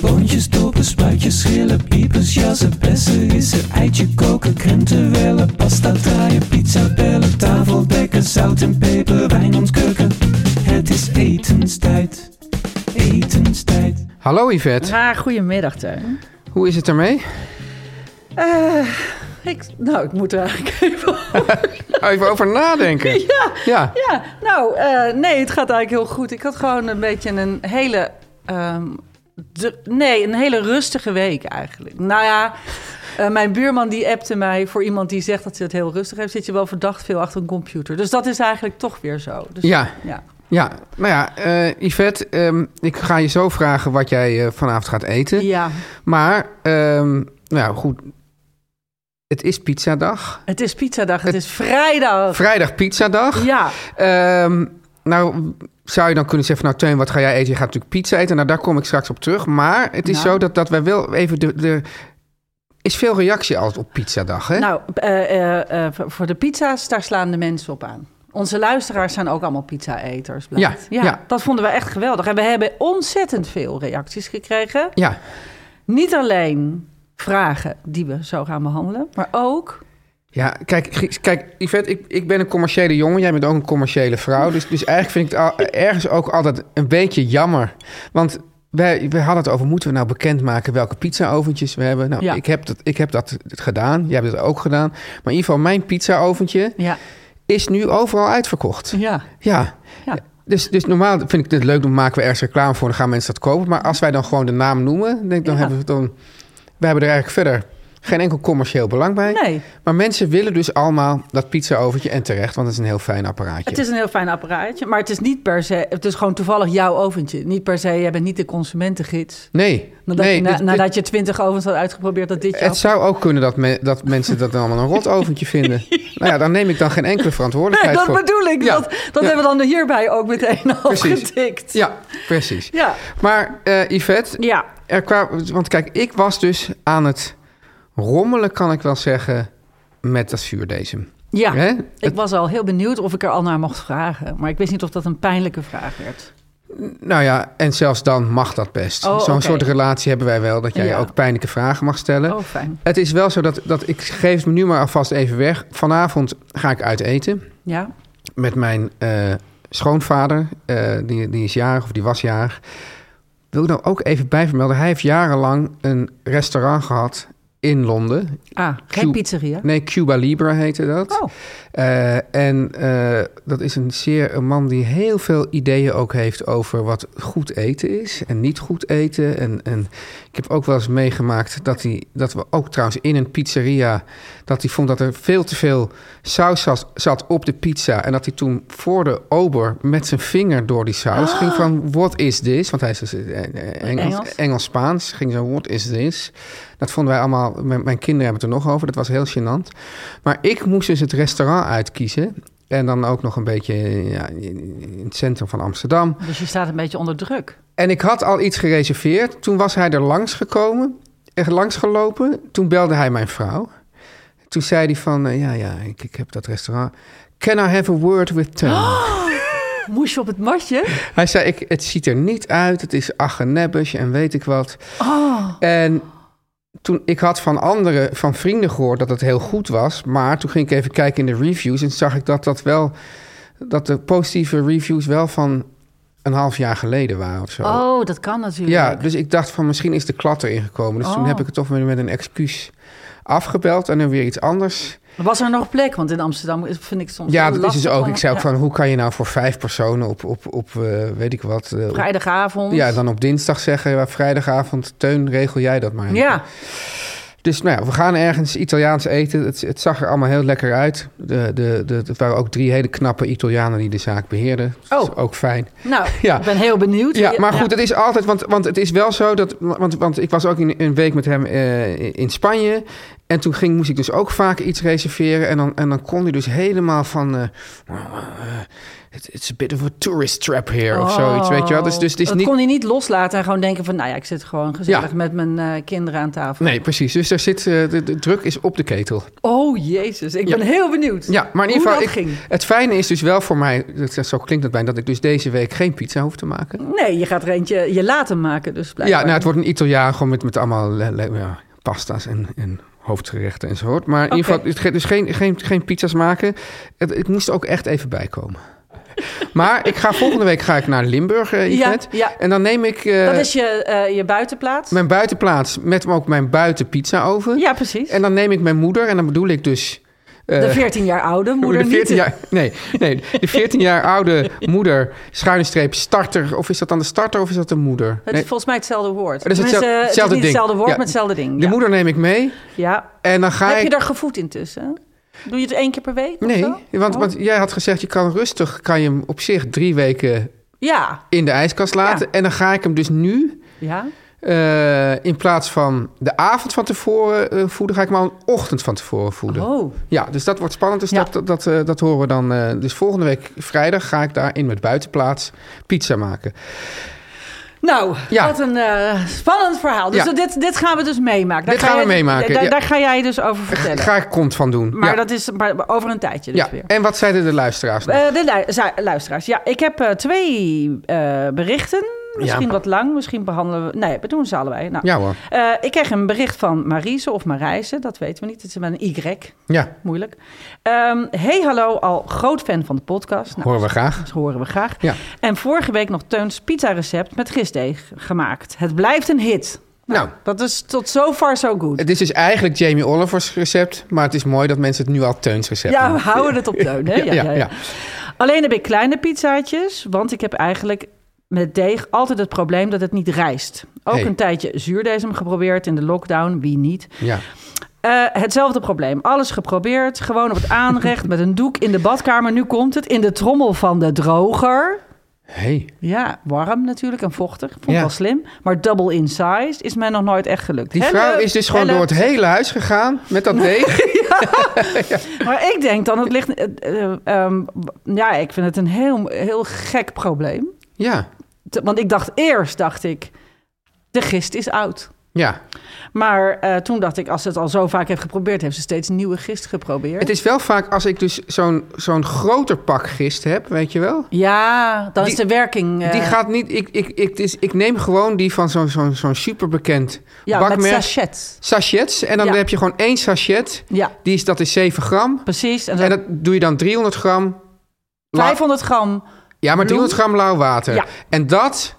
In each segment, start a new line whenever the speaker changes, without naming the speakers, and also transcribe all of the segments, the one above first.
Boontjes, dopen, spuitjes, schillen, piepers, jassen, bessen, rissen, eitje koken, krenten wellen, pasta draaien, pizza bellen, tafel dekken, zout en peper, wijn ontkurken. Het is etenstijd, etenstijd.
Hallo Yvette,
Ja, goedemiddag Teun.
hoe is het ermee?
Eh, ik, nou, ik moet er eigenlijk even over.
Even over nadenken.
ja,
Ja,
ja, nou, eh, nee, het gaat eigenlijk heel goed. Ik had gewoon een beetje een hele... ehm, dru- nee, een hele rustige week eigenlijk. Nou ja, eh, mijn buurman die appte mij voor iemand die zegt dat ze het heel rustig heeft... zit je wel verdacht veel achter een computer. Dus dat is eigenlijk toch weer zo. Dus,
Ja.
ja.
ja. nou ja, eh, Yvette, ehm, ik ga je zo vragen wat jij eh, vanavond gaat eten.
Ja,
Maar, ehm, nou goed, het is pizzadag.
het is pizzadag, het is vrijdag.
Vrijdag pizzadag.
Oh. Ja,
Ehm, nou, zou je dan kunnen zeggen, van, nou Teun, wat ga jij eten? Je gaat natuurlijk pizza eten. Nou, daar kom ik straks op terug. Maar het is
Nou.
zo dat, dat wij wel even de... de is veel reactie altijd op pizzadag, hè?
Nou, eh, eh, eh, voor de pizza's, daar slaan de mensen op aan. Onze luisteraars zijn ook allemaal pizza-eters. blijkt.
Ja, ja.
dat vonden we echt geweldig. En we hebben ontzettend veel reacties gekregen.
ja,
Niet alleen vragen die we zo gaan behandelen, maar ook.
Ja, kijk, G- kijk Yvette, ik, ik ben een commerciële jongen. Jij bent ook een commerciële vrouw. Dus, dus eigenlijk vind ik het al- ergens ook altijd een beetje jammer. Want wij, wij hadden het over, moeten we nou bekendmaken welke pizza-oventjes we hebben? Nou,
Ja.
ik, heb dat, ik heb dat gedaan. Jij hebt dat ook gedaan. Maar in ieder geval, mijn pizza-oventje
Ja, Mhm.
is nu overal uitverkocht.
ja,
Ja.
Ja.
Dus, dus normaal vind ik het leuk, dan maken we ergens reclame voor, dan gaan mensen dat kopen. Maar als wij dan gewoon de naam noemen, denk ik, dan
Ja.
hebben we dan... We hebben er eigenlijk verder geen enkel commercieel belang bij.
nee.
Maar mensen willen dus allemaal dat pizza-overtje en terecht, want het is een heel fijn apparaatje.
Het is een heel fijn apparaatje, maar het is niet per se. Het is gewoon toevallig jouw oventje. Niet per se, jij bent niet de consumentengids.
Nee,
Nadat,
nee
je, na-
dit- dit-
nadat je twintig ovens had uitgeprobeerd, dat dit
het
jou.
zou ook kunnen dat, me- dat mensen dat allemaal een rot oventje vinden. Nou ja, dan neem ik dan geen enkele verantwoordelijkheid
dat
voor.
bedoel ik.
Ja,
Dat, dat hebben we dan hierbij ook meteen al
Precies.
getikt.
Ja, precies.
Ja.
Maar eh, Yvette,
Ja.
er kwam, want kijk, ik was dus aan het rommelen, kan ik wel zeggen, met dat zuurdesem.
Ja,
Hè?
ik
Het-
was al heel benieuwd of ik er al naar mocht vragen. Maar ik wist niet of dat een pijnlijke vraag werd.
Nou ja, en zelfs dan mag dat best.
Oh,
Zo'n
oké.
soort relatie hebben wij wel, dat jij
Ja.
ook pijnlijke vragen mag stellen.
Oh, fijn.
Het is wel zo dat, dat ik geef het me nu maar alvast even weg. Vanavond ga ik uit eten
Ja,
met mijn eh, schoonvader. Eh, die, die is jarig of die was jarig. Wil ik dan ook even bijvermelden. Hij heeft jarenlang een restaurant gehad in Londen.
ah, geen
Cute.
pizzeria.
Nee, Cuba Libre heette dat.
Oh,
Eh, en eh, dat is een zeer een man die heel veel ideeën ook heeft over wat goed eten is en niet goed eten. En, en ik heb ook wel eens meegemaakt dat, hij, dat we ook trouwens in een pizzeria, dat hij vond dat er veel te veel saus zat, zat op de pizza. En dat hij toen voor de ober met zijn vinger door die saus ging van what is this? Want hij is dus, eh, eh, Engels,
Engels.
Engels-Spaans. Ging zo what is this? Dat vonden wij allemaal, mijn, mijn kinderen hebben het er nog over. Dat was heel gênant. Maar ik moest dus het restaurant uitkiezen. En dan ook nog een beetje ja, in het centrum van Amsterdam.
dus je staat een beetje onder druk.
En ik had al iets gereserveerd. Toen was hij er langs gekomen, er langs gelopen. Toen belde hij mijn vrouw. Toen zei hij van, eh, ja, ja, ik, ik heb dat restaurant. Can I have a word with Tom?
Moest je op het matje?
Hij zei, ik, het ziet er niet uit. Het is achenebbes en weet ik wat.
Oh,
En toen, ik had van anderen, van vrienden gehoord dat het heel goed was. Maar toen ging ik even kijken in de reviews en zag ik dat dat wel dat de positieve reviews wel van een half jaar geleden waren of zo.
Oh, dat kan natuurlijk.
Ja, dus ik dacht van misschien is de klat erin gekomen. Dus toen
Oh.
heb ik het toch weer met een excuus afgebeld en dan weer iets anders.
Was er nog plek? Want in Amsterdam is- vind ik soms...
Ja,
heel
dat is dus
lastig
ook.
om-
Ik zei ook
Ja.
van hoe kan je nou voor vijf personen op, op, op eh, weet ik wat. eh, op-
Vrijdagavond.
ja, dan op dinsdag zeggen, ja, vrijdagavond, Teun, regel jij dat maar.
Ja,
Dus nou ja, we gaan ergens Italiaans eten. Het, het zag er allemaal heel lekker uit. De, de, de, het waren ook drie hele knappe Italianen die de zaak beheerden. Dat is
Oh.
ook fijn.
nou,
Ja.
ik ben heel benieuwd.
Ja, maar goed, het is altijd, want, want het is wel zo dat, want, want ik was ook in een week met hem eh, in Spanje. En toen ging, moest ik dus ook vaak iets reserveren. En dan, en dan kon hij dus helemaal van. eh, it- it's a bit of a tourist trap here of zoiets, weet je wel. Dus, dus het is
Oh, dat
niet.
kon hij niet loslaten en gewoon denken van... nou ja, ik zit gewoon gezellig
Ja.
met mijn eh, kinderen aan tafel.
Nee, precies. Dus daar zit, eh, de, de druk is op de ketel.
Oh, jezus. Ik
Ja.
ben heel benieuwd
Ja, maar in
hoe
ieder geval.
dat
ik-
ging.
Het fijne is dus wel voor mij, dat, zo klinkt het bijna, dat ik dus deze week geen pizza hoef te maken.
Nee, je gaat er eentje je laten maken dus blijkbaar.
Ja, nou, het wordt een Italiaan gewoon met, met allemaal le- le- ja, pasta's en, en hoofdgerechten enzovoort. Maar in ieder
Oké.
geval, het ge- dus geen, geen, geen pizza's maken. Het, het moest er ook echt even bijkomen. maar ik ga volgende week ga ik naar Limburg, eh
Ja,
Yvette.
ja.
En dan neem ik eh,
Dat is je, eh, je buitenplaats?
mijn buitenplaats met ook mijn buitenpizza over.
Ja, precies.
En dan neem ik mijn moeder en dan bedoel ik dus... eh,
de 14 jaar oude moeder
de 14
niet.
jaar, nee, nee, de 14 jaar oude moeder, schuine streep, starter. Of is dat dan de starter of is dat de moeder?
Het is
Nee,
volgens mij hetzelfde woord.
Het is
Tenminste,
hetzelfde-
het is
hetzelfde
niet
ding.
hetzelfde woord,
Ja.
maar hetzelfde ding.
de
ja.
moeder neem ik mee.
Ja.
En dan ga
Heb
ik...
je daar gevoed intussen? Doe je het één keer per week? of
Nee,
zo?
want,
Oh.
want jij had gezegd, je kan rustig, kan je hem op zich drie weken
Oh. Ja.
in de ijskast laten. En dan ga ik hem dus nu,
Ja.
eh, in plaats van de avond van tevoren eh, voeden, ga ik hem al een ochtend van tevoren voeden.
Oh.
Ja, dus dat wordt spannend. Dus
Ja.
dat, dat, eh, dat horen we dan. eh, dus volgende week vrijdag ga ik daarin met buitenplaats pizza maken.
Nou,
Ja.
wat een eh, spannend verhaal. Dus
Ja.
dit, dit gaan we dus meemaken.
Dit
ga
gaan we
jij-
meemaken,
Daar,
ja.
daar ga jij dus over vertellen.
Ga ik kont van doen.
maar
ja.
dat is maar over een tijdje dus
ja.
weer.
En wat zeiden de luisteraars? nog?
Eh, de lu- za- luisteraars, ja, ik heb eh, twee eh, berichten. Misschien wat lang, misschien behandelen we... Nee, we doen ze allebei. Nou,
ja hoor.
eh, ik kreeg een bericht van Marise of Marijse, dat weten we niet. Het is met een Y,
Ja,
moeilijk. Ehm, hey, hallo, al groot fan van de podcast. Nou,
horen we graag.
dat horen we graag.
Ja.
En vorige week nog Teuns pizza-recept met gistdeeg gemaakt. Het blijft een hit.
Nou,
Dat is tot zo far so good.
het is dus eigenlijk Jamie Oliver's recept. Maar het is mooi dat mensen het nu al Teuns recept
Ja, we
noemen.
houden het op Teun, hè?
Ja, ja, ja.
Alleen heb ik kleine pizzaatjes, want ik heb eigenlijk met deeg altijd het probleem dat het niet rijst. Ook
Hey.
een tijdje zuurdesem geprobeerd in de lockdown, wie niet.
Ja.
Eh, hetzelfde probleem, alles geprobeerd, gewoon op het aanrecht met een doek in de badkamer. Nu komt het in de trommel van de droger.
Hey.
Ja, warm natuurlijk en vochtig, vond ik
Ja.
wel slim. Maar double in size is mij nog nooit echt gelukt.
Die
Help,
vrouw is dus gewoon
help.
door het hele huis gegaan met dat deeg.
Maar ik denk dan, het ligt... eh, eh, ehm, ja, ik vind het een heel, heel gek probleem.
ja,
Te- want ik dacht eerst, dacht ik, de gist is oud.
ja.
Maar eh, toen dacht ik, als ze het al zo vaak heeft geprobeerd, heeft ze steeds nieuwe gist geprobeerd.
Het is wel vaak als ik dus zo'n zo'n groter pak gist heb, weet je wel.
Ja, dan is
Die-
de werking. eh,
Die gaat niet. Ik, ik, ik, het is- ik neem gewoon die van zo'n zo'n zo'n superbekend
ja, met
bakmerk.
sachets.
sachets. En dan
Ja.
heb je gewoon één sachet.
Ja,
Die is, dat is 7 gram.
precies. En, dan
En dat doe je dan 300 gram. la-
500 gram.
ja, maar
bloem.
300 gram lauw water.
Ja.
En dat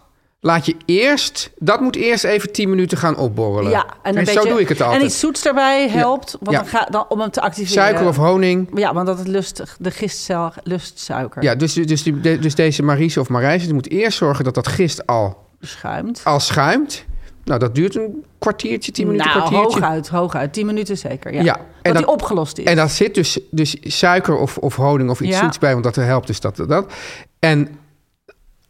laat je eerst. Dat moet eerst even 10 minuten gaan opborrelen.
Ja, en, een beetje,
zo doe ik het altijd.
En iets zoets daarbij helpt, want
Ja.
Dan ga, dan, om hem te activeren.
Suiker of honing.
Ja, want dat is lustig. De gistcel, lustsuiker
Ja, dus, dus, die- de- dus deze Marise of Marijse die moet eerst zorgen dat dat gist al,
schuimt.
al schuimt. Nou, dat duurt een kwartiertje, Oh, tien minuten,
nou,
kwartiertje.
hooguit, hooguit. 10 minuten zeker. Ja.
Ja,
dat
en
die
dan-
opgelost is.
En daar zit dus, dus suiker of, of honing of iets
Ja.
zoets bij, want dat helpt dus dat. dat. En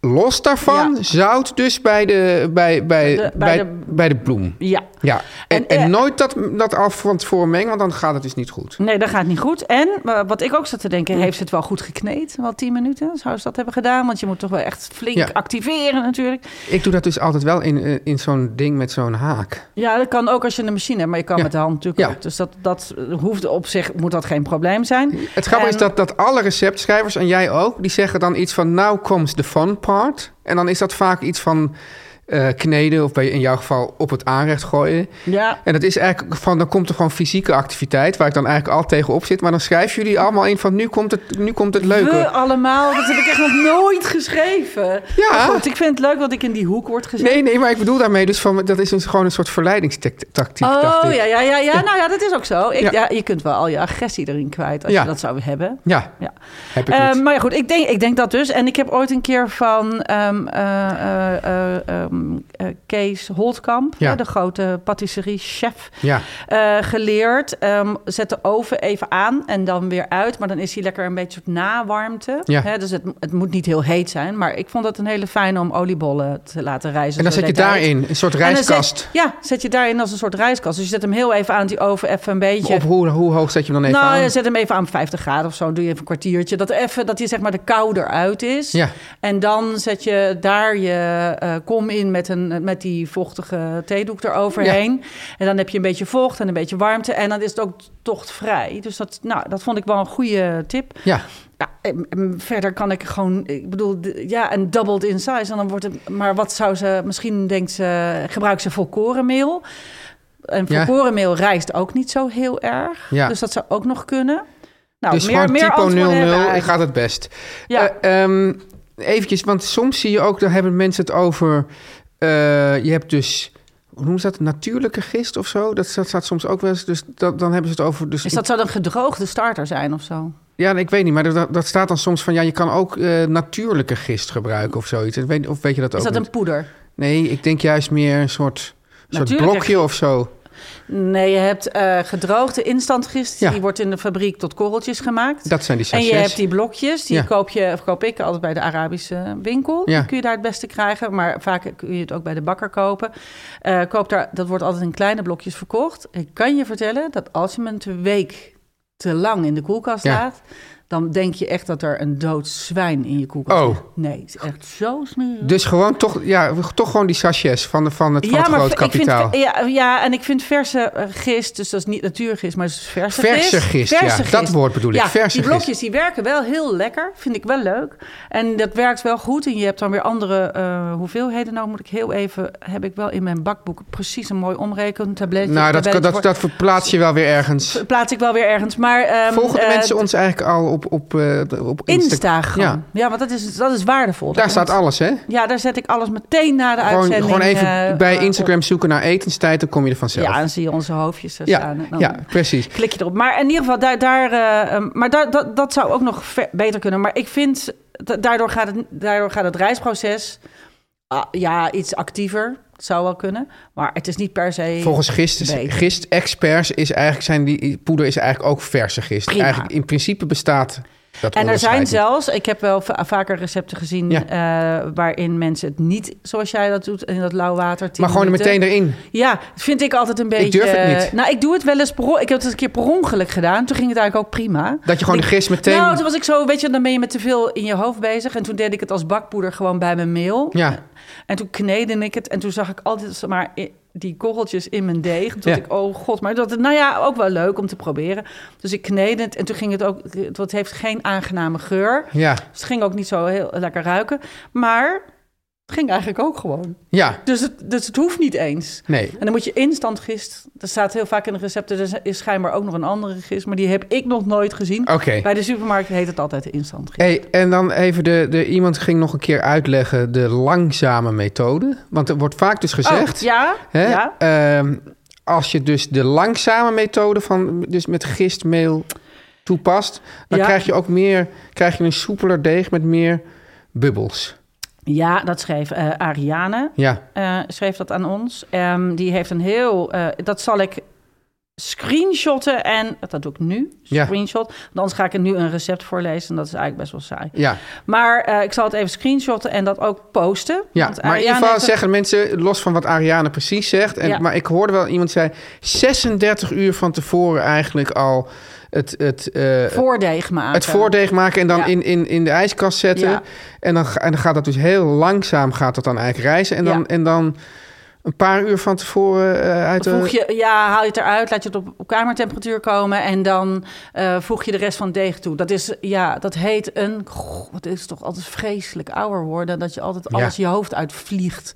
los daarvan
Ja.
zout dus bij de, bij, bij,
Bij de- bij
bij,
de-
bij de bloem.
ja.
Ja, en,
En,
en,
eh,
nooit dat, dat al van tevoren mengen, want dan gaat het dus niet goed.
Nee, dat gaat niet goed. En eh, wat ik ook zat te denken, heeft ze het wel goed gekneed? Wel 10 minuten zou ze dat hebben gedaan? Want je moet toch wel echt flink
Ja.
activeren natuurlijk.
Ik doe dat dus altijd wel in, eh, in zo'n ding met zo'n haak.
Ja, dat kan ook als je een machine hebt, maar je kan
Ja.
met de hand natuurlijk
Ja.
ook. Dus dat, dat hoeft op zich, moet dat geen probleem zijn.
Het grappige
En-
is dat, dat alle receptschrijvers, en jij ook, die zeggen dan iets van... nou komt de fun part. En dan is dat vaak iets van eh, kneden of bij, in jouw geval op het aanrecht gooien.
Ja.
En dat is eigenlijk van, dan komt er gewoon fysieke activiteit waar ik dan eigenlijk al tegenop zit. Maar dan schrijven jullie allemaal in van nu komt het, nu komt het leuke.
We allemaal, dat heb ik echt nog nooit geschreven.
Ja.
Maar goed, ik vind het leuk dat ik in die hoek word gezet.
Nee, nee, maar ik bedoel daarmee dus van, dat is dus gewoon een soort verleidingstactiek, dacht ik.
Oh, ja, ja, ja, ja. Nou ja, dat is ook zo. Ik,
Ja.
ja. je kunt wel al je agressie erin kwijt als
Ja.
je dat zou hebben.
Ja,
Ja.
heb ik
Eh,
niet.
maar ja, goed, ik denk, ik denk dat dus. En ik heb ooit een keer van ehm, eh, eh, eh, ehm, eh, Kees Holtkamp,
Ja.
hè, de grote patisserie-chef,
Ja.
eh, geleerd. ehm, zet de oven even aan en dan weer uit. Maar dan is hij lekker een beetje op nawarmte.
Ja.
Hè, dus het, het moet niet heel heet zijn. Maar ik vond dat een hele fijne om oliebollen te laten rijzen.
En dan
zo
zet je
deed hij het.
daarin, een soort
En dan
rijstkast.
Zet, ja, zet je daarin als een soort rijstkast. Dus je zet hem heel even aan die oven, even een beetje...
Op hoe, hoe hoog zet je hem dan even
nou,
aan?
je zet hem even aan 50 graden of zo. Dan doe je even een kwartiertje. Dat, even, dat hij zeg maar de kou eruit is.
Ja.
En dan zet je daar je eh, kom in met, een, met die vochtige theedoek eroverheen. En dan heb je een beetje vocht en een beetje warmte. En dan is het ook tochtvrij. Dus dat, nou, dat vond ik wel een goede tip.
Ja,
Ja, en- en verder kan ik gewoon, ik bedoel, d- ja, en doubled in size. En dan wordt het, maar wat zou ze, misschien denkt ze, gebruik ze volkorenmeel. En
Ja.
volkorenmeel rijst ook niet zo heel erg.
Ja.
Dus dat zou ook nog kunnen. Nou,
dus
meer,
gewoon
meer
typo
antwoorden
00
hebben we eigenlijk.
gaat het best.
Ja.
Eh, ehm, eventjes, want soms zie je ook, daar hebben mensen het over... eh, je hebt dus, hoe noemen ze dat, natuurlijke gist of zo? Dat, dat staat soms ook wel eens, dus dat, dan hebben ze het over... Dus
Dus dat zou dan gedroogde starter zijn of zo.
Ja, ik weet niet, maar dat, dat staat dan soms van... ja, je kan ook eh, natuurlijke gist gebruiken of zoiets. Ik Weet, of weet je dat ook
Is dat
niet?
een poeder?
Nee, ik denk juist meer een soort, soort
Natuurlijke
blokje of zo.
Nee, je hebt eh, gedroogde instantgist.
Ja.
Die wordt in de fabriek tot korreltjes gemaakt.
Dat zijn die
En
sachets.
je hebt die blokjes, die
Ja.
koop, je, of koop ik altijd bij de Arabische winkel.
Ja.
Die kun je daar het beste krijgen, maar vaak kun je het ook bij de bakker kopen. Eh, koop daar, dat wordt altijd in kleine blokjes verkocht. Ik kan je vertellen dat als je hem een week te lang in de koelkast
Ja.
laat... dan denk je echt dat er een dood zwijn in je koelkast
Oh.
ligt. Nee, het is echt zo smerig.
Dus gewoon toch, ja, toch gewoon die sachets van, de, van het, van het groot
ver- ik vind
kapitaal.
ver- ja, ja, en ik vind verse eh, gist, dus dat is niet natuurgist, maar het is verse,
Verse gist, ja, dat woord bedoel ik,
Ja,
verse
die
gist.
blokjes die werken wel heel lekker, vind ik wel leuk. En dat werkt wel goed en je hebt dan weer andere eh, hoeveelheden. Nou moet ik heel even, heb ik wel in mijn bakboek precies een mooi omrekentableetje.
nou, dat,
tabelletje
dat,
voor-
dat verplaats je wel weer ergens.
plaats ik wel weer ergens. Maar, ehm,
Volgen de
eh,
mensen ons eigenlijk al op, op, eh, op
Insta gewoon.
Ja,
Ja. want dat is, dat is waardevol.
daar staat alles, hè?
Ja, daar zet ik alles meteen na de
Gewoon,
uitzending.
gewoon even
eh,
bij
eh,
Instagram zoeken naar etenstijd, dan kom je er vanzelf.
Ja, dan zie je onze hoofdjes er
ja,
staan. En dan
ja, precies.
klik je erop. Maar in ieder geval, daar, daar, eh, ehm, maar daar, dat, dat zou ook nog ver- beter kunnen. Maar ik vind, da- daardoor gaat het, daardoor gaat het reisproces ah, ja, iets actiever. Het zou wel kunnen. Maar het is niet per se...
Volgens gist,
Beter.
gist-experts is eigenlijk zijn die poeder is eigenlijk ook verse gist.
Prima.
Eigenlijk in principe bestaat dat
En er
onderscheid
zijn
niet.
zelfs, ik heb wel va- vaker recepten gezien...
Ja.
eh, waarin mensen het niet, zoals jij dat doet, in dat lauw water... 10
Maar gewoon er
minuten.
meteen erin.
Ja, dat vind ik altijd een beetje...
durf het niet.
Nou, ik doe het wel eens... per on- Ik heb het een keer per ongeluk gedaan. Toen ging het eigenlijk ook prima.
Dat je gewoon de
Ik-
gist meteen.
Nou, toen was ik zo, weet je, dan ben je met te veel in je hoofd bezig. En toen deed ik het als bakpoeder gewoon bij mijn mail.
Ja.
En toen kneedde ik het. En toen zag ik altijd zeg maar i- die korreltjes in mijn deeg. Toen dacht
Ja.
ik, oh god, maar dat, nou ja, ook wel leuk om te proberen. Dus ik kneedde het. En toen ging het ook, het heeft geen aangename geur.
Ja,
Dus het ging ook niet zo heel lekker ruiken. Maar het ging eigenlijk ook gewoon.
ja,
Dus het, dus het hoeft niet eens.
nee.
En dan moet je instant gist. Dat staat heel vaak in de recepten. Er is schijnbaar ook nog een andere gist, maar die heb ik nog nooit gezien.
Oké.
Bij de supermarkt heet het altijd de instant gist.
Hey, en dan even, de, de, iemand ging nog een keer uitleggen de langzame methode. Want er wordt vaak dus gezegd,
Oh, ja?
hè,
ja?
ehm, als je dus de langzame methode van, dus met gistmeel toepast, dan
Ja.
krijg je ook meer, krijg je een soepeler deeg met meer bubbels.
Ja, dat schreef eh, Ariane.
Ja,
eh, schreef dat aan ons. Ehm, die heeft een heel... eh, dat zal ik screenshotten en... Dat doe ik nu,
Ja.
screenshot. Want anders ga ik er nu een recept voorlezen en dat is eigenlijk best wel saai.
ja.
Maar eh, ik zal het even screenshotten en dat ook posten.
Ja,
Want
maar in ieder
Ariane
geval
heeft een-
zeggen mensen, los van wat Ariane precies zegt... En,
Ja.
maar ik hoorde wel iemand zei, 36 uur van tevoren eigenlijk al het, het, eh,
Voordeeg maken.
het voordeeg maken... en dan
Ja.
in, in, in de ijskast zetten.
Ja.
En, dan, ga- en dan gaat dat dus heel langzaam gaat dat dan eigenlijk reizen. En dan,
Ja.
en dan een paar uur van tevoren eh, uit
Voeg
de...
je, ja, haal je het eruit, laat je het op, op kamertemperatuur komen en dan eh, voeg je de rest van het deeg toe. Dat is, ja, dat heet een, goh, wat is het toch altijd vreselijk ouder worden, dat je altijd
Ja.
alles je hoofd uitvliegt.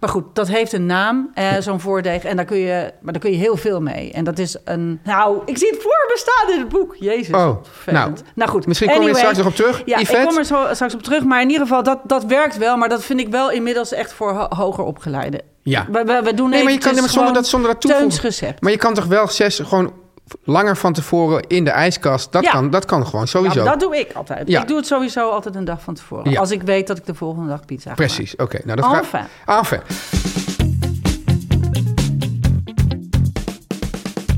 Maar goed, dat heeft een naam, eh, zo'n voordeeg, en daar kun je, maar daar kun je heel veel mee. En dat is een, nou, ik zie het voor me staan in het boek, jezus.
Oh,
wat vervelend.
nou,
nou goed.
Misschien kom je er
anyway.
straks nog op terug.
Ja,
Yvette?
ik kom er zo straks op terug. Maar in ieder geval, dat, dat werkt wel. Maar dat vind ik wel inmiddels echt voor ho- hoger opgeleiden.
Ja.
We, we, we doen
Nee, maar je
eventjes
kan hem
gewoon
zonder dat, zonder dat toevoegen.
Teuns recept.
Maar je kan toch wel zes gewoon langer van tevoren in de ijskast. Dat,
Ja.
kan, dat kan gewoon
Ja,
sowieso.
maar dat doe ik altijd.
Ja.
Ik doe het sowieso altijd een dag van tevoren.
Ja.
Als ik weet dat ik de volgende dag pizza ga
Precies, oké. Nou, dat
Enfin.
vraag- Enfin.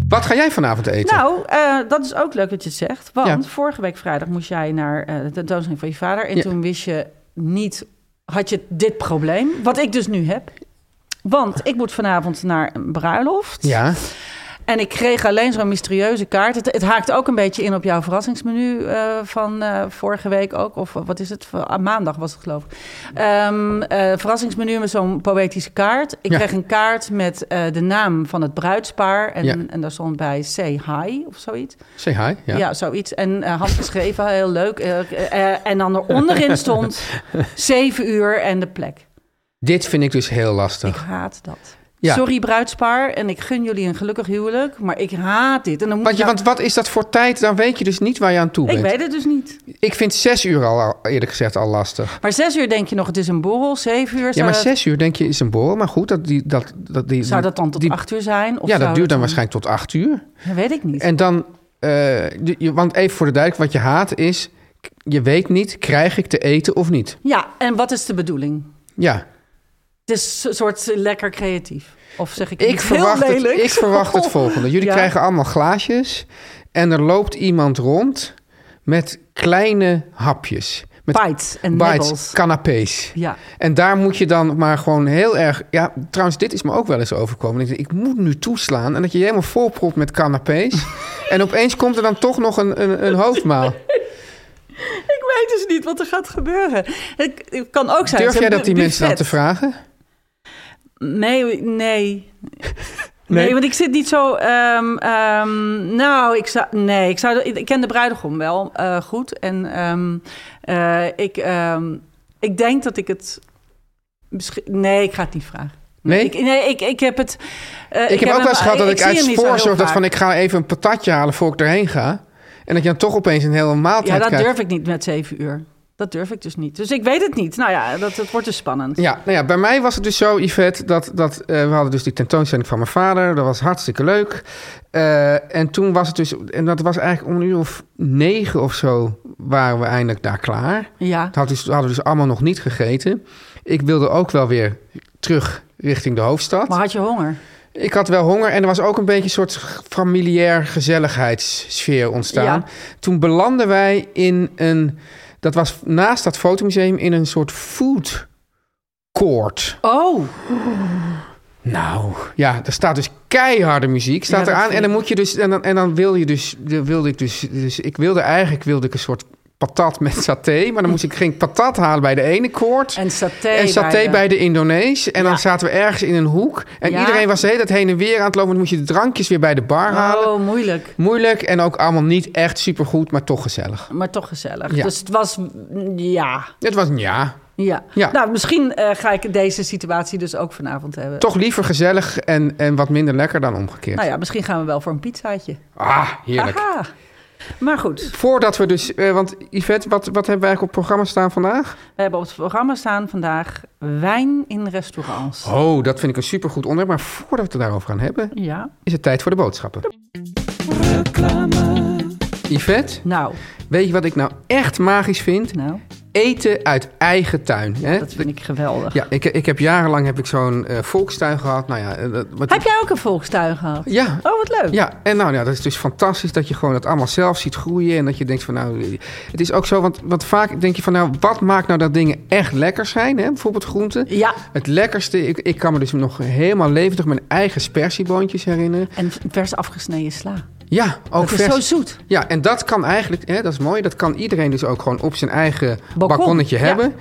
Wat ga jij vanavond eten?
Nou, eh, dat is ook leuk dat je het zegt. Want
Ja.
vorige week vrijdag moest jij naar eh, de tentoonstelling van je vader. En
Ja.
toen wist je niet, had je dit probleem. Wat ik dus nu heb. Want ik moet vanavond naar een bruiloft.
ja,
En ik kreeg alleen zo'n mysterieuze kaart. Het, het haakt ook een beetje in op jouw verrassingsmenu eh, van eh, vorige week ook. Of eh, wat is het? Va- ah, maandag was het geloof ik. Ehm, eh, verrassingsmenu met zo'n poëtische kaart. Ik
Ja.
kreeg een kaart met eh, de naam van het bruidspaar. En,
Ja.
en daar stond bij Say Hi of zoiets.
say hi. Ja.
Ja, zoiets. En eh, handgeschreven, heel leuk. Eh, eh, en dan eronderin stond zeven uur en de plek.
Dit vind ik dus heel lastig.
Ik haat dat.
Ja.
Sorry bruidspaar, en ik gun jullie een gelukkig huwelijk, maar ik haat dit. En dan moet
want, je,
nou-
want wat is dat voor tijd? Dan weet je dus niet waar je aan toe bent.
Ik weet het dus niet.
Ik vind zes uur al, al eerlijk gezegd al lastig.
Maar zes uur denk je nog, het is een borrel. Zeven uur
Ja,
zou,
maar
dat,
zes uur denk je is een borrel. Maar goed, dat die, dat, dat die,
zou dat dan tot
die-
acht uur zijn? Of
Ja,
zou
dat duurt dan waarschijnlijk tot acht uur.
Dat weet ik niet.
En dan, eh, de- je- want even voor de duidelijk, wat je haat is, k- je weet niet, krijg ik te eten of niet?
Ja, en wat is de bedoeling?
Ja,
Het is een soort lekker creatief. Of zeg ik,
ik
iets heel
verwacht, het,
lelijk?
ik verwacht het volgende. Jullie
Ja.
krijgen allemaal glaasjes en er loopt iemand rond met kleine hapjes. Met
Bites en
bites,
nibbles.
canapés.
Ja.
En daar moet je dan maar gewoon heel erg... Ja, trouwens, dit is me ook wel eens overkomen. Ik, denk, ik moet nu toeslaan. En dat je je helemaal volpropt met canapés. en opeens komt er dan toch nog een, een, een hoofdmaal.
Ik weet dus niet wat er gaat gebeuren. Het, het kan ook zijn...
Durf
zo'n
jij dat die
bu-
mensen dan te
buffet.
vragen?
Nee, nee. Nee, want ik zit niet zo. ehm, ehm, nou, ik zou. Nee, ik zou. Ik ken de bruidegom wel eh, goed. En ehm, eh, ik. ehm, ik denk dat ik het. misschien- Nee, ik ga het niet vragen.
Nee?
Ik, nee, ik, ik heb het. eh,
Ik, heb ook
hem-
wel eens gehad dat ik,
zie
uit
hem niet zo heel
voorzorg dat
vaak.
van ik ga even een patatje halen voor ik erheen ga. En dat je dan toch opeens een hele maaltijd
Ja, dat
krijgt.
durf ik niet met zeven uur. Dat durf ik dus niet. Dus ik weet het niet. Nou ja, dat, dat wordt dus spannend.
Ja, nou ja, bij mij was het dus zo, Yvette, dat, dat eh, we hadden dus die tentoonstelling van mijn vader. Dat was hartstikke leuk. Eh, en toen was het dus, en dat was eigenlijk om een uur of negen of zo, waren we eindelijk daar klaar.
Ja.
Het had dus, we hadden dus allemaal nog niet gegeten. Ik wilde ook wel weer terug richting de hoofdstad.
Maar had je honger?
Ik had wel honger en er was ook een beetje een soort familiair gezelligheidssfeer ontstaan.
Ja.
Toen belanden wij in een, dat was naast dat fotomuseum, in een soort food court.
Oh,
Nou, ja, er staat dus keiharde muziek staat
Ja, dat
eraan.
vind
En dan
ik.
moet je dus, en dan, en dan wil je dus, dan wilde ik dus, dus ik wilde eigenlijk wilde ik een soort patat met saté, maar dan moest ik geen patat halen bij de ene koord.
en saté.
En saté bij
bij
de,
de-
Indonees. En
Ja.
dan zaten we ergens in een hoek. En
Ja.
iedereen was de hele tijd heen en weer aan het lopen. Dan moest je de drankjes weer bij de bar halen.
Oh, moeilijk.
Moeilijk en ook allemaal niet echt supergoed, maar toch gezellig.
Maar toch gezellig.
Ja.
Dus het was, mm, ja,
Het was een ja.
ja.
Ja.
Nou, misschien eh, ga ik deze situatie dus ook vanavond hebben.
Toch liever gezellig en, en wat minder lekker dan omgekeerd.
Nou ja, misschien gaan we wel voor een pizzaatje.
Ah, heerlijk.
Aha. Maar goed,
Voordat we dus... eh, want Yvette, wat, wat hebben wij eigenlijk op het programma staan vandaag?
we hebben op het programma staan vandaag wijn in restaurants.
Oh, dat vind ik een supergoed onderwerp. Maar voordat we het daarover gaan hebben,
Ja.
is het tijd voor de boodschappen. Yvette,
Nou,
weet je wat ik nou echt magisch vind?
nou,
Eten uit eigen tuin. Hè?
dat vind ik geweldig.
Ja, ik, ik heb jarenlang heb ik zo'n eh, volkstuin gehad. Nou ja, eh, dat, wat-
Heb jij ook een volkstuin gehad?
Ja.
Oh, wat leuk.
Ja, en nou ja, dat is dus fantastisch dat je gewoon dat allemaal zelf ziet groeien. En dat je denkt van nou, het is ook zo, want, want vaak denk je van nou, wat maakt nou dat dingen echt lekker zijn? Hè? Bijvoorbeeld groenten.
Ja.
Het lekkerste, ik, ik kan me dus nog helemaal levendig mijn eigen spersieboontjes herinneren.
En vers afgesneden sla.
Ja, ook
Dat is
vers.
zo zoet.
Ja, en dat kan eigenlijk, hè, dat is mooi, dat kan iedereen dus ook gewoon op zijn eigen
Balkon,
balkonnetje
ja.
hebben.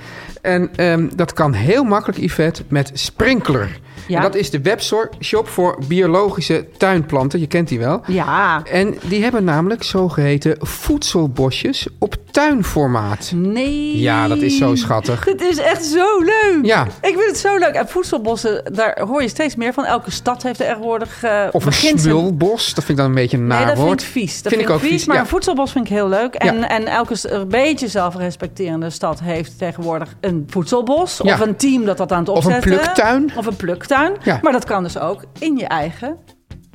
En ehm, dat kan heel makkelijk, Yvette, met sprinkler.
Ja.
En dat is de webshop voor biologische tuinplanten. Je kent die wel.
Ja.
En die hebben namelijk zogeheten voedselbosjes op tuinformaat.
Mm. Nee.
Ja, dat is zo schattig.
Het is echt zo leuk.
Ja.
Ik vind het zo leuk. En voedselbossen, daar hoor je steeds meer van. Elke stad heeft tegenwoordig... eh
Of een
begint zijn-
smulbos, dat vind ik dan een beetje een
Nee,
naar
dat vind
woord.
ik vies. Dat
Vind ik ook
vies,
vies,
Maar
ja.
een voedselbos vind ik heel leuk. En,
Ja.
en elke s- een beetje zelfrespecterende stad heeft tegenwoordig een voedselbos.
Ja.
Of een team dat dat aan het
Of een
opzetten.
pluktuin.
Of een pluktuin.
Ja.
Maar dat kan dus ook in je eigen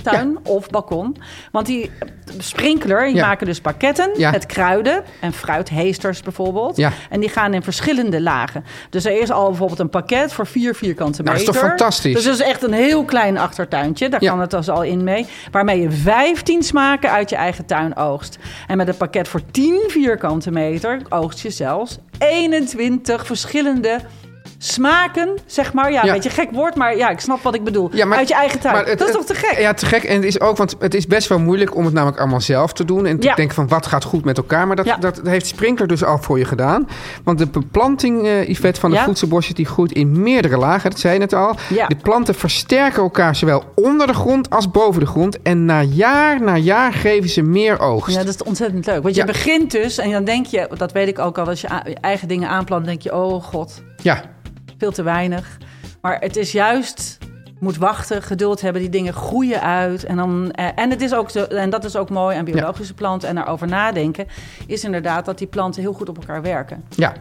tuin of balkon. Want die eh, sprinkler, die
Ja.
maken dus pakketten
Ja.
met kruiden en fruitheesters bijvoorbeeld.
Ja.
En die gaan in verschillende lagen. Dus er is al bijvoorbeeld een pakket voor vier vierkante
Nou,
meter.
is toch fantastisch?
Dus dat is echt een heel klein achtertuintje. Daar
Ja.
kan het dus al in mee. Waarmee je 15 smaken uit je eigen tuin oogst. En met een pakket voor 10 vierkante meter oogst je zelfs 21 verschillende smaken, zeg maar. Ja,
Ja.
een beetje gek woord, maar ja, ik snap wat ik bedoel.
Ja, maar-
uit je eigen tuin.
maar het-
dat is
het-
toch te gek?
Ja, te gek. En het is ook, want het is best wel moeilijk om het namelijk allemaal zelf te doen. En te
Ja.
denken van wat gaat goed met elkaar. Maar dat,
Ja.
dat heeft Sprinkler dus al voor je gedaan. Want de beplanting, eh Yvette, van de
Ja.
voedselbosjes, die groeit in meerdere lagen. Dat zei je net al.
Ja.
De planten versterken elkaar zowel onder de grond als boven de grond. En na jaar na jaar geven ze meer oogst.
Ja, dat is ontzettend leuk. Want
Ja.
je begint dus en dan denk je, dat weet ik ook al, als je a- je eigen dingen aanplant, denk je, oh god,
ja.
veel te weinig. Maar het is juist, je moet wachten, geduld hebben, die dingen groeien uit. En, dan, eh, en, het is ook zo, en dat is ook mooi aan biologische planten en daarover nadenken, is inderdaad dat die planten heel goed op elkaar werken.
ja.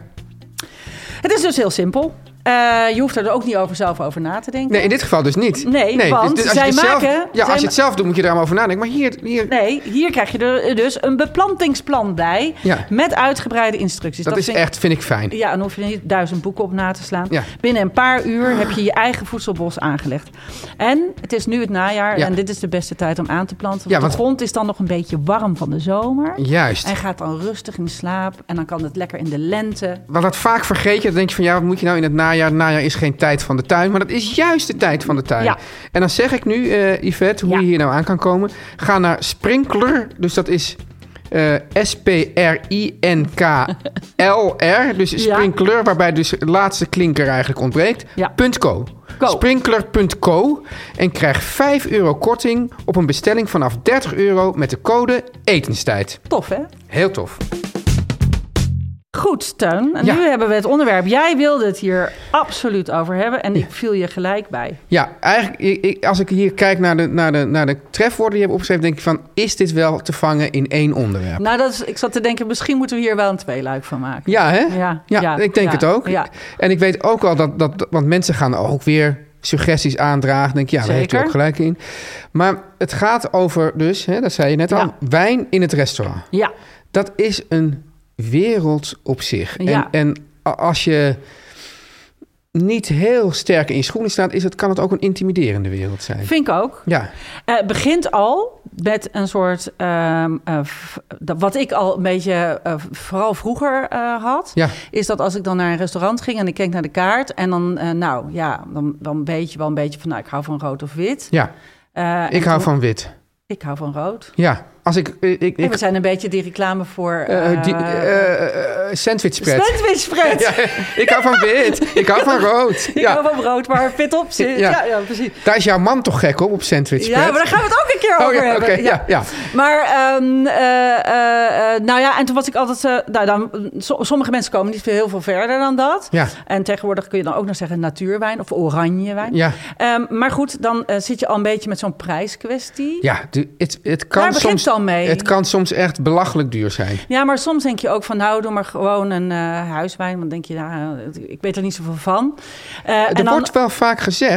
Het is dus heel simpel. Eh, je hoeft er ook niet over zelf over na te denken.
Nee, in dit geval dus niet.
Nee, want
dit-
zij
het zelf-
maken-
ja,
zij
als je
ma-
het zelf doet, moet je er allemaal over nadenken. Maar hier... hier
Nee, dus hier krijg je er dus een beplantingsplan bij.
Ja.
Met uitgebreide instructies.
dat is
vind ik-
echt, vind ik fijn.
Ja, dan hoef je niet duizend boeken op na te slaan.
Ja.
Binnen een paar uur heb je je eigen voedselbos aangelegd. En het is nu het najaar
Ja.
en dit is de beste tijd om aan te planten. Want
Ja, want-
de grond is dan nog een beetje warm van de zomer.
Juist.
Hij gaat dan rustig in slaap en dan kan het lekker in de lente.
Want dat vaak vergeet je, dan denk je van ja, wat moet je nou in het najaar? Het najaar is geen tijd van de tuin, maar dat is juist de tijd van de tuin.
Ja.
En dan zeg ik nu, eh, Yvette, hoe
Ja.
je hier nou aan kan komen. Ga naar Sprinkler, dus dat is eh, S-P-R-I-N-K-L-R, dus
Ja.
Sprinkler, waarbij dus de laatste klinker eigenlijk ontbreekt.
Ja.
Punt .co.
Co.
Sprinkler.co en krijg 5 euro korting op een bestelling vanaf 30 euro met de code etenstijd.
Tof, hè?
Heel tof.
Goed, Teun. En
Ja.
nu hebben we het onderwerp. Jij wilde het hier absoluut over hebben en ik viel je gelijk bij.
Ja, eigenlijk, ik- ik- als ik hier kijk naar de, naar, de, naar de trefwoorden die je hebt opgeschreven, denk ik van, is dit wel te vangen in één onderwerp?
Nou, dat is, ik zat te denken, misschien moeten we hier wel een tweeluik van maken.
Ja, hè?
Ja, ja,
ik denk
ja,
het ook.
ja.
En ik weet ook wel dat, dat, dat- want mensen gaan ook weer suggesties aandragen. Denk ik, ja, daar heeft u
Zeker.
ook gelijk in. Maar het gaat over dus, hè, dat zei je net al,
Ja.
wijn in het restaurant.
Ja.
Dat is een wereld op zich.
Ja.
En, en a- als je niet heel sterk in je schoenen staat, is het, kan het ook een intimiderende wereld zijn.
Vind ik ook.
Ja,
Eh, Het begint al met een soort, ehm, eh, v- dat- wat ik al een beetje eh, v- vooral vroeger eh, had,
Ja.
is dat als ik dan naar een restaurant ging en ik keek naar de kaart en dan, eh, nou ja, dan, dan weet je wel een beetje van, nou ik hou van rood of wit.
ja.
Eh, en
ik hou
toen-
van wit.
Ik hou van rood.
Ja, als ik... eh, ik, ik,
En we zijn een beetje die reclame voor
eh,
eh,
die, eh, eh, sandwich spread.
sandwich spread.
ik hou van wit. Ik hou van rood.
Ik
Ja.
hou van rood waar fit op zit.
Ja.
Ja, ja, precies.
Daar is jouw man toch gek op, op sandwich
Ja,
spread?
maar daar gaan we het ook een keer
Oh,
over
ja,
hebben.
oké, ja, ja.
Maar, ehm, eh, eh, eh, nou ja, en toen was ik altijd... eh, nou, dan, so- sommige mensen komen niet veel, heel veel verder dan dat.
Ja.
En tegenwoordig kun je dan ook nog zeggen natuurwijn of oranjewijn.
Ja.
Ehm, maar goed, dan eh, zit je al een beetje met zo'n prijskwestie.
Ja, de- het, het kan
Daar begint
soms...
het al mee.
Het kan soms echt belachelijk duur zijn.
Ja, maar soms denk je ook van, nou, doe maar gewoon een eh, huiswijn. Want dan denk je, nou, eh, ik weet er niet zoveel van. Eh, en
er
dan-
wordt wel vaak gezegd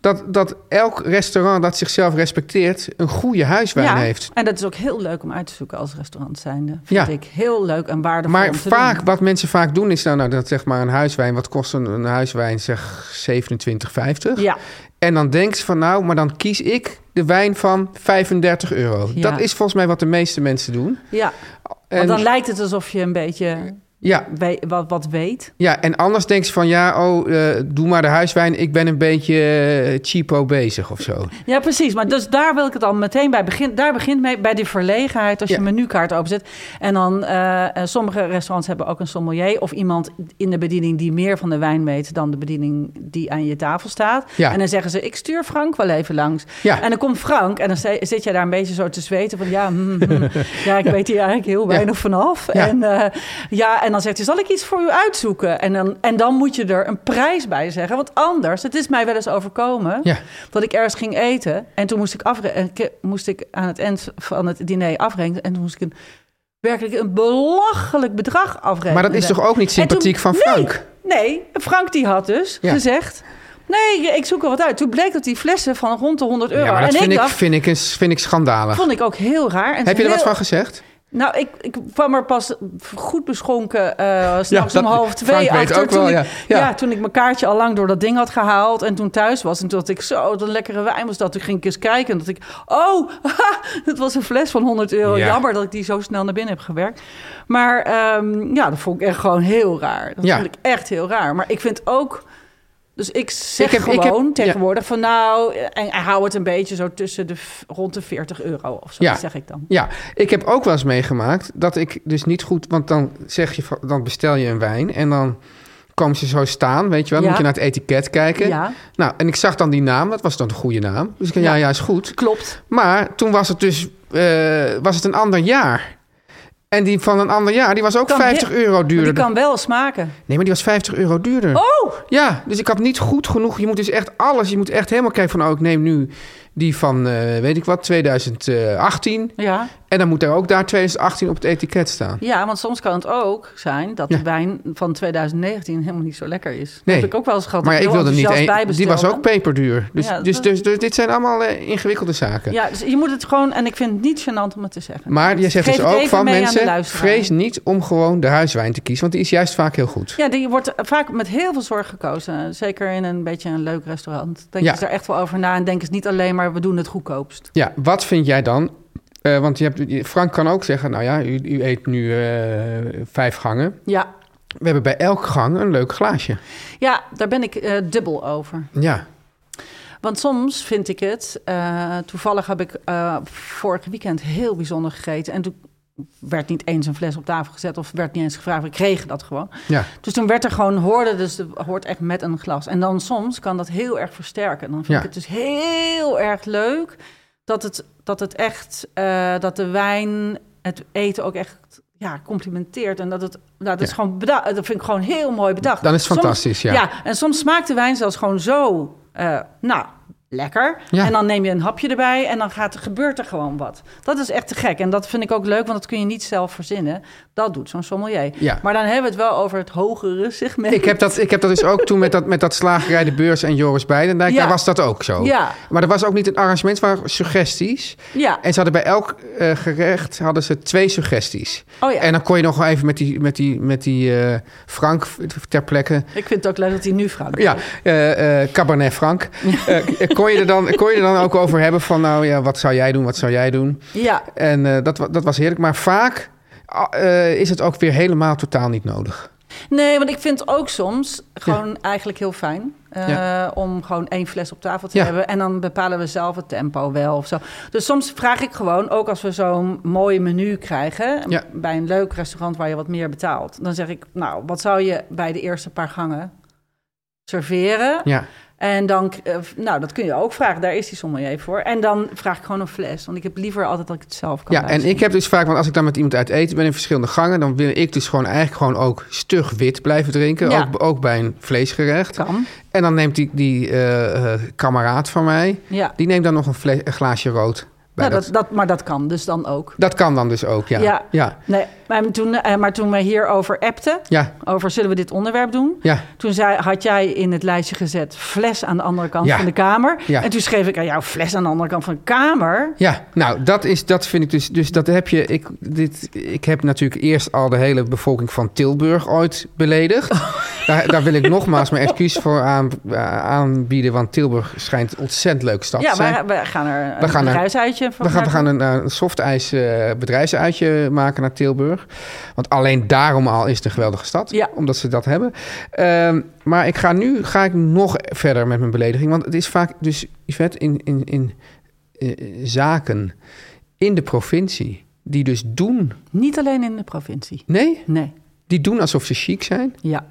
dat, dat elk restaurant dat zichzelf respecteert... een goede huiswijn
ja,
heeft.
En dat is ook heel leuk om uit te zoeken als restaurant zijnde.
Ja.
Vind ik heel leuk en waardevol
Maar
om te
vaak,
doen.
wat mensen vaak doen is... nou, nou dat zeg maar een huiswijn, wat kost een, een huiswijn? Zeg 27,50.
Ja.
En dan denkt ze van nou, maar dan kies ik de wijn van 35 euro.
Ja.
Dat is volgens mij wat de meeste mensen doen.
Ja,
En Eh.
want dan lijkt het alsof je een beetje
Ja,
we- wat, wat weet.
ja, en anders denk je van ja, oh, eh, doe maar de huiswijn. Ik ben een beetje eh, cheapo bezig of zo.
Ja, precies. Maar dus daar wil ik het al meteen bij beginnen. Daar begint mee bij die verlegenheid als
Ja.
je menukaart openzet. En dan, eh, eh, sommige restaurants hebben ook een sommelier of iemand in de bediening die meer van de wijn weet dan de bediening die aan je tafel staat.
Ja.
En dan zeggen ze, ik stuur Frank wel even langs.
Ja.
En dan komt Frank en dan zi- zit je daar een beetje zo te zweten van, ja, hmm, hmm. ja ik weet hier eigenlijk heel weinig vanaf.
Ja.
En, eh, ja, en dan zegt hij, zal ik iets voor u uitzoeken? En dan, en dan moet je er een prijs bij zeggen, want anders, het is mij wel eens overkomen
Ja.
dat ik ergens ging eten. En toen moest ik, afre- en ke- moest ik aan het eind van het diner afrekenen. En toen moest ik een, werkelijk een belachelijk bedrag afrekenen.
Maar dat is toch ook niet
eh, En toen-
sympathiek van Frank?
Nee, nee, Frank die had dus
Ja.
gezegd... Nee, ik zoek er wat uit. Toen bleek dat die flessen van rond de 100 euro...
Ja, maar dat
en
vind
ik
ik,
dacht,
vind ik, eens- vind ik schandalig.
vond ik ook heel raar.
Heb
En
je er
heel-
wat van gezegd?
Nou, ik, ik kwam er pas goed beschonken eh s'nachts
dat-
om half twee
Frank weet
achter.
ook
toen
wel, ja.
Ik,
Ja.
ja. toen ik mijn kaartje al lang door dat ding had gehaald en toen thuis was. En toen dacht ik, zo, wat een lekkere wijn was dat. Toen ging ik eens kijken en dat ik, oh, haha, dat was een fles van 100 euro.
Ja.
Jammer dat ik die zo snel naar binnen heb gewerkt. Maar ehm, ja, dat vond ik echt gewoon heel raar. Dat
Ja.
vond ik echt heel raar. Maar ik vind ook... Dus ik zeg
Ik heb- ik heb-
gewoon
ja.
tegenwoordig van nou, en, en hou het een beetje zo tussen de v- rond de 40 euro of zo,
Ja.
zeg ik dan.
Ja, ik heb ook wel eens meegemaakt dat ik dus niet goed... Want dan, zeg je, van- dan bestel je een wijn en dan komen ze zo staan, weet je wel. Dan
Ja.
moet je naar het etiket kijken.
Ja.
Nou, en ik zag dan die naam, dat was dan een goede naam. Dus ik dacht, ja,
Ja.
ja, is goed.
Klopt.
Maar toen was het dus eh, was het een ander jaar. En die van een ander jaar, die was ook
Kan
50
heel-
euro
Maar
duurder.
Die kan wel smaken.
Nee, maar die was 50 euro duurder.
Oh!
Ja, dus ik had niet goed genoeg. Je moet dus echt alles, je moet echt helemaal kijken van... oh, ik neem nu die van, eh, weet ik wat, 2018.
Ja.
En dan moet daar ook daar 2018 op het etiket staan.
ja, want soms kan het ook zijn dat
Ja.
de wijn van 2019 helemaal niet zo lekker is. Dat
Nee.
heb ik ook wel eens gehad.
Maar ja,
dat
ik wilde niet
heel enthousiast
één. Die was
bijbestelde.
ook peperduur. Dus,
Ja,
dus,
dat-
dus, dus dit zijn allemaal eh, ingewikkelde zaken.
Ja, dus je moet het gewoon... En ik vind het niet gênant om het te zeggen.
Maar je zegt
Geef
dus
het
ook
even
van
mee aan de
mensen...
luisteraar.
vrees niet om gewoon de huiswijn te kiezen... want die is juist vaak heel goed.
Ja, die wordt vaak met heel veel zorg gekozen. Zeker in een beetje een leuk restaurant. Denk
Ja.
eens daar echt wel over na. En denk eens niet alleen maar, we doen het goedkoopst.
Ja, wat vind jij dan? Eh, want je hebt, Frank kan ook zeggen, nou ja, u, u eet nu eh, vijf gangen.
Ja,
We hebben bij elk gang een leuk glaasje.
ja daar ben ik eh, dubbel over.
Ja,
Want soms vind ik het. eh, toevallig heb ik eh, vorig weekend heel bijzonder gegeten. En toen werd niet eens een fles op tafel gezet of werd niet eens gevraagd. We kregen dat gewoon.
ja.
Dus toen werd er gewoon hoorde, dus de- hoort echt met een glas. En dan soms kan dat heel erg versterken. En dan vind
Ja.
ik het dus heel erg leuk dat het, dat het echt, eh, dat de wijn het eten ook echt ja, complimenteert. En dat het, nou, dat is
Ja.
gewoon beda- dat vind ik gewoon heel mooi bedacht.
Dan is het
Soms-
fantastisch, ja.
Ja, en soms smaakt de wijn zelfs gewoon zo, eh, nou, lekker.
Ja.
En dan neem je een hapje erbij en dan gaat, er- gebeurt er gewoon wat. Dat is echt te gek. En dat vind ik ook leuk, want dat kun je niet zelf verzinnen. Dat doet zo'n sommelier.
Ja.
Maar dan hebben we het wel over het hogere segment.
Ik heb, dat, ik heb dat dus ook toen met dat, met dat slagerij De Beurs en Joris Beidendijk.
Ja.
Daar was dat ook zo.
Ja.
Maar er was ook niet een arrangement, maar suggesties.
Ja.
En ze hadden bij elk eh, gerecht hadden ze twee suggesties.
Oh ja.
En dan kon je nog wel even met die, met die, met die eh, Frank ter plekke
Ik vind het ook leuk dat hij nu vraagt.
Ja, eh, eh, Cabernet Frank. Eh, kon, je er dan, kon je er dan ook over hebben van, nou ja, wat zou jij doen, wat zou jij doen?
Ja.
En eh, dat, wa- dat was heerlijk. Maar vaak ah, eh, is het ook weer helemaal totaal niet nodig.
Nee, want ik vind het ook soms gewoon eigenlijk heel fijn... eh,
Ja.
om gewoon één fles op tafel te
Ja.
hebben. En dan bepalen we zelf het tempo wel of zo. Dus soms vraag ik gewoon, ook als we zo'n mooi menu krijgen...
Ja.
bij een leuk restaurant waar je wat meer betaalt... dan zeg ik, nou, wat zou je bij de eerste paar gangen serveren?
Ja,
En dan, eh, nou, dat kun je ook vragen. Daar is die sommelier voor. En dan vraag ik gewoon een fles. Want ik heb liever altijd dat ik het zelf kan
ja en ik heb dus vaak, want als ik dan met iemand uit eten ben in verschillende gangen, dan wil ik dus gewoon eigenlijk gewoon ook stug wit blijven drinken.
Ja.
Ook, ook bij een vleesgerecht.
Kan.
En dan neemt die, die eh, eh, kameraad van mij,
Ja.
die neemt dan nog een, fle- een glaasje rood. Bij
Nou,
dat.
dat,
Dat,
dat, maar dat kan dus dan ook.
kan dan dus ook, ja.
Ja.
ja.
Nee, maar toen, eh, maar toen we hierover appten,
Ja.
over zullen we dit onderwerp doen?
Ja.
Toen zei, had jij in het lijstje gezet fles aan de andere kant
Ja.
van de kamer.
Ja.
En toen schreef ik aan jou fles aan de andere kant van de kamer.
Ja, nou, dat, is, dat vind ik dus. Dus dat heb je. Ik, dit, ik heb natuurlijk eerst al de hele bevolking van Tilburg ooit beledigd.
Oh.
Daar, daar wil ik nogmaals mijn excuus voor aan, aanbieden. Want Tilburg schijnt een ontzettend leuk stad
ja,
te zijn.
maar we gaan er
We
een
gaan er-
bedrijfsuitje van
We gaan, we
maken.
gaan een, eh, een soft ijs eh, bedrijfsuitje maken naar Tilburg. Hamburg. Want alleen daarom al is het een geweldige stad.
Ja.
Omdat ze dat hebben. Ehm, maar ik ga nu ga ik nog verder met mijn belediging. Want het is vaak, dus Yvette, in, in, in eh, zaken in de provincie. Die dus doen.
Niet alleen in de provincie.
Nee,
Nee.
die doen alsof ze chic zijn.
Ja.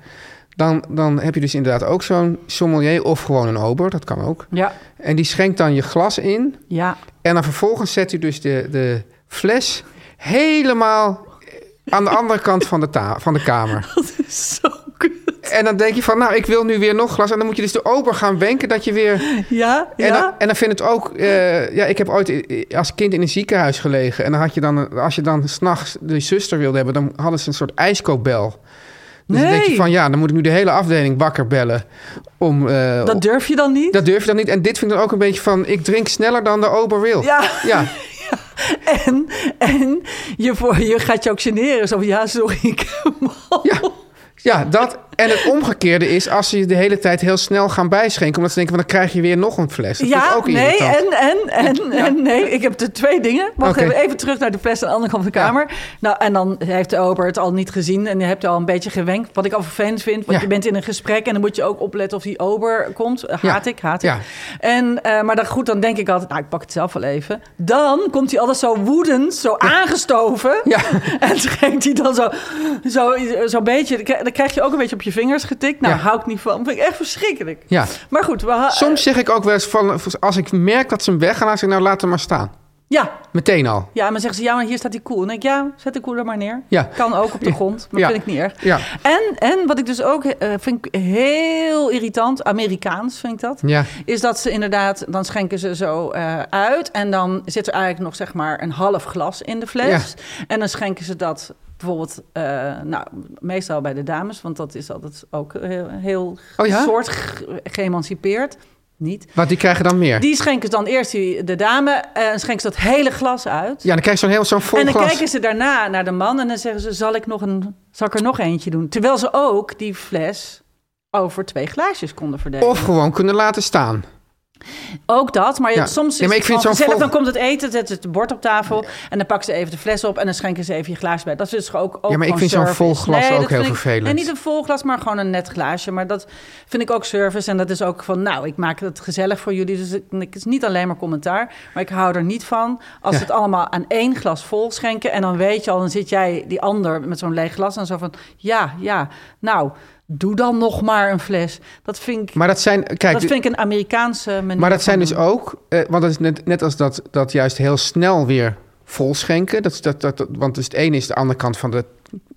Dan, dan heb je dus inderdaad ook zo'n sommelier of gewoon een ober. Dat kan ook.
Ja.
En die schenkt dan je glas in.
Ja.
En dan vervolgens zet u dus de, de fles helemaal aan de andere kant van de, ta- van de kamer.
Zo kut.
En dan denk je van, nou, ik wil nu weer nog glas. En dan moet je dus de ober gaan wenken dat je weer...
Ja.
En,
ja.
dan, en dan vindt het ook... eh, ja, ik heb ooit eh, als kind in een ziekenhuis gelegen. En dan had je dan, een- als je dan s'nachts de zuster wilde hebben... dan hadden ze een soort ijskoopbel. Dus dan denk je
Nee.
van, ja, dan moet ik nu de hele afdeling wakker bellen. Om, eh,
dat durf je dan niet?
dat durf je dan niet. En dit vind ik dan ook een beetje van, ik drink sneller dan de ober wil.
Ja.
Ja,
En, en je, voor, je gaat je ook generen. Zo van, ja, sorry, ik mag.
Ja. Ja, dat. En het omgekeerde is als ze je de hele tijd heel snel gaan bijschenken. Omdat ze denken, van, dan krijg je weer nog een fles. Dat vind
Ja,
ik ook
nee,
irritant.
en, eh, en, en, en nee. Ik heb de twee dingen. Wacht
Oké.
even, even terug naar de fles aan de andere kant van de
Ja.
kamer. Nou, en dan heeft de ober het al niet gezien en je hebt al een beetje gewenkt. Wat ik al vervelend vind, want
Ja.
je bent in een gesprek... en dan moet je ook opletten of die ober komt. Haat
Ja.
ik, haat ik.
Ja.
En, eh, maar dan, goed, dan denk ik altijd, nou, ik pak het zelf wel even. Dan komt hij altijd zo woedend, zo aangestoven.
Ja.
En schenkt hij dan zo zo, zo beetje... Dan krijg je ook een beetje op je vingers getikt. Nou,
Ja.
hou ik niet van. Vind ik echt verschrikkelijk.
Ja.
Maar goed, we, ha-
Soms zeg ik ook wel eens, van, als ik merk dat ze hem weggaan, dan zeg ik, nou laat hem maar staan.
ja,
Meteen al.
Ja, en dan zeggen ze, ja, maar hier staat die koel. En dan denk ik, ja, zet de koel er maar neer.
Ja.
Kan ook op de grond, maar
Ja.
vind ik niet erg.
Ja.
En, en wat ik dus ook eh, vind ik heel irritant, Amerikaans vind ik dat...
Ja.
is dat ze inderdaad, dan schenken ze zo eh, uit... en dan zit er eigenlijk nog zeg maar een half glas in de fles. En dan schenken ze dat bijvoorbeeld, eh, nou, meestal bij de dames... want dat is altijd ook heel, heel
Oh ja?
soort ge- geëmancipeerd... Niet.
Want die krijgen dan meer.
Die schenken dan eerst die, de dame eh, en schenken ze dat hele glas uit.
Ja, dan krijg je zo'n heel zo'n vol
En dan
glas.
kijken ze daarna naar de man en dan zeggen ze: zal ik, nog een, zal ik er nog eentje doen? Terwijl ze ook die fles over twee glaasjes konden verdelen.
Of gewoon kunnen laten staan.
Ook dat, maar
Ja.
soms is
Ja, maar ik
het
vind
gewoon
zo'n
gezellig.
vol-
Dan komt het eten, zetten ze het bord op tafel... en dan pakken ze even de fles op en dan schenken ze even je glaas bij. Dat is dus ook, ook
Ja, maar ik
gewoon
vind zo'n
service.
vol glas
Nee,
ook
dat
heel
vind ik-
vervelend.
nee, niet een vol glas, maar gewoon een net glaasje. Maar dat vind ik ook service. En dat is ook van, nou, ik maak het gezellig voor jullie. Dus ik- het is niet alleen maar commentaar. Maar ik hou er niet van als
Ja.
ze het allemaal aan één glas vol schenken... en dan weet je al, dan zit jij die ander met zo'n leeg glas... en zo van, ja, ja, nou... Doe dan nog maar een fles. Dat vind ik,
Maar dat zijn, kijk,
dat vind ik een Amerikaanse manier.
maar dat zijn
van
dus
doen.
ook, eh, want dat is net, net als dat, dat juist heel snel weer vol schenken. Dat, is dat, dat, dat- want dus het ene is de andere kant van de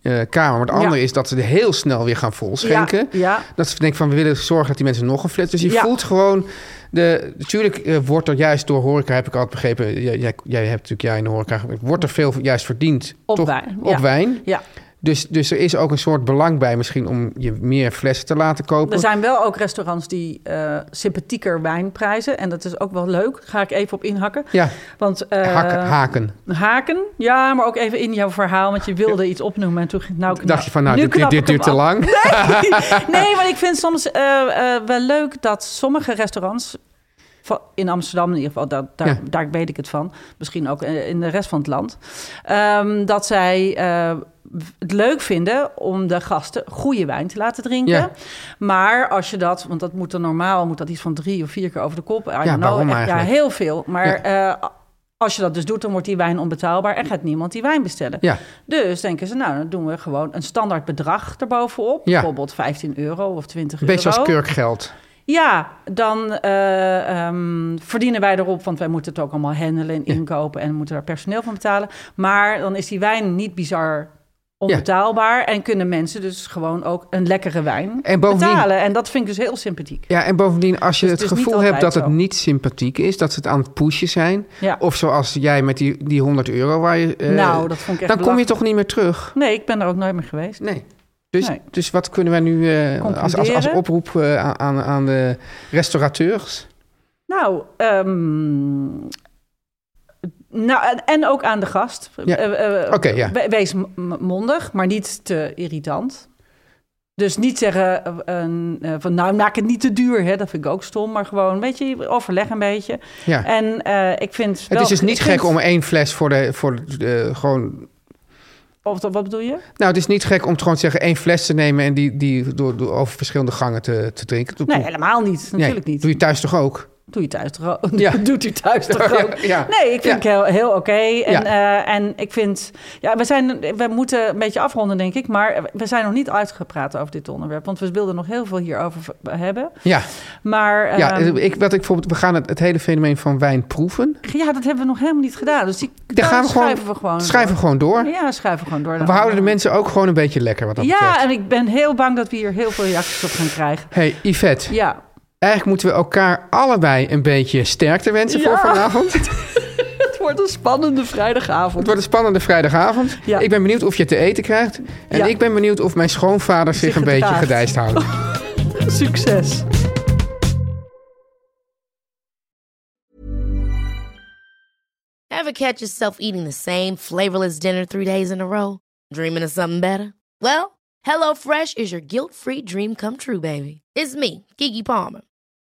eh, kamer, maar het
Ja.
andere is dat ze er heel snel weer gaan vol schenken.
Ja, ja.
Dat ze denken van we willen zorgen dat die mensen nog een fles. Dus je
Ja.
voelt gewoon. De, natuurlijk eh, wordt er juist door horeca, heb ik altijd begrepen. Jij, jij, jij hebt natuurlijk jij in de horeca. gewerkt, Wordt er veel juist verdiend
Op
toch,
wijn,
Op
ja.
wijn.
Ja,
Dus, dus er is ook een soort belang bij misschien om je meer flessen te laten kopen.
er zijn wel ook restaurants die eh, sympathieker wijn prijzen. En dat is ook wel leuk. Ga ik even op inhakken.
Ja,
Want, eh,
hakken. haken.
haken, ja, maar ook even in jouw verhaal. Want je wilde iets opnoemen en toen ging nou,
Dacht je van, nou,
nu
dit, dit,
knap
dit
ik
duurt te
hem af.
lang.
Nee, maar ik vind soms eh, eh, wel leuk dat sommige restaurants... va- In Amsterdam in ieder geval, daar, daar,
Ja.
daar weet ik het van. Misschien ook eh, in de rest van het land. Ehm, dat zij eh, het leuk vinden om de gasten goede wijn te laten drinken.
Ja.
Maar als je dat, want dat moet dan normaal... moet dat iets van drie of vier keer over de kop. I don't know,
waarom
echt, ja,
eigenlijk?
heel veel. Maar eh, als je dat dus doet, dan wordt die wijn onbetaalbaar... en gaat niemand die wijn bestellen.
Ja,
Dus denken ze, nou, dan doen we gewoon een standaard bedrag erbovenop.
Ja.
Bijvoorbeeld 15 euro of 20
een beetje
euro.
als kurkgeld.
Ja, dan eh, ehm, verdienen wij erop, want wij moeten het ook allemaal handelen en inkopen... en moeten daar personeel van betalen. Maar dan is die wijn niet bizar onbetaalbaar... en kunnen mensen dus gewoon ook een lekkere wijn
En bovendien-
betalen. En dat vind ik dus heel sympathiek.
Ja, en bovendien, als je
Dus
het
het is niet
gevoel hebt dat
altijd
het
zo.
niet sympathiek is, dat ze het aan het pushen zijn.
Ja.
Of zoals jij met die, die 100 euro waar je. Oh, eh,
Nou, dat vond ik echt
Dan kom je
belachelijk.
toch niet meer terug?
Nee, ik ben er ook nooit meer geweest.
Nee. Dus,
Nee.
dus wat kunnen wij nu eh, als, als, als
Concluderen?
oproep eh, aan- aan, aan de restaurateurs?
Nou, ehm, nou en, en ook aan de gast.
Ja.
Eh, eh,
Oké, ja.
we- Wees m- m- mondig, maar niet te irritant. Dus niet zeggen eh, een, eh, van nou maak het niet te duur, hè? dat vind ik ook stom. Maar gewoon, weet je, overleg een beetje.
Ja.
En eh, ik vind
het
wel-
is dus niet
ik
gek
vind-
om één fles voor de. Voor de, eh, gewoon
Of dat- wat bedoel je?
Nou, het is niet gek om gewoon te zeggen één fles te nemen en die, die door, door over verschillende gangen te, te drinken. Doe-
Nee,
doe-
helemaal niet.
nee,
Natuurlijk niet.
Doe je thuis toch ook?
Doe je thuis toch ook?
Ja.
Doet u thuis toch ook?
Ja, ja.
Nee, ik vind
Ja.
het heel, heel oké. En,
Ja.
eh, en ik vind... Ja, we, zijn, we moeten een beetje afronden, denk ik. Maar we zijn nog niet uitgepraat over dit onderwerp. Want we wilden nog heel veel hierover v- hebben.
Ja,
Maar ehm,
ja eh,
ja,
ik, wat ik bijvoorbeeld, we gaan het, het hele fenomeen van wijn proeven.
dat hebben we nog helemaal niet gedaan. Dus die
Daar gaan we gewoon,
schuiven we gewoon
schrijven we gewoon door.
door. Ja, schuiven we gewoon door.
We houden de mensen ook gewoon een beetje lekker wat dat
Ja,
betreft.
en ik ben heel bang dat we hier heel veel reacties op gaan krijgen.
Hey Yvette,
Ja,
eigenlijk moeten we elkaar allebei een beetje sterkte wensen voor
Ja.
vanavond. Het
het wordt een spannende vrijdagavond.
wordt een spannende vrijdagavond.
Ja.
Ik ben benieuwd of je te eten krijgt. En
Ja.
ik ben benieuwd of mijn schoonvader zich,
Zich
een beetje
gedraagt.
gedijst houdt.
Succes.
Ever catch yourself eating the same flavorless dinner three days in a row? Dreaming of something better? Well, HelloFresh is your guilt-free dream come true, baby. It's me, Kiki Palmer.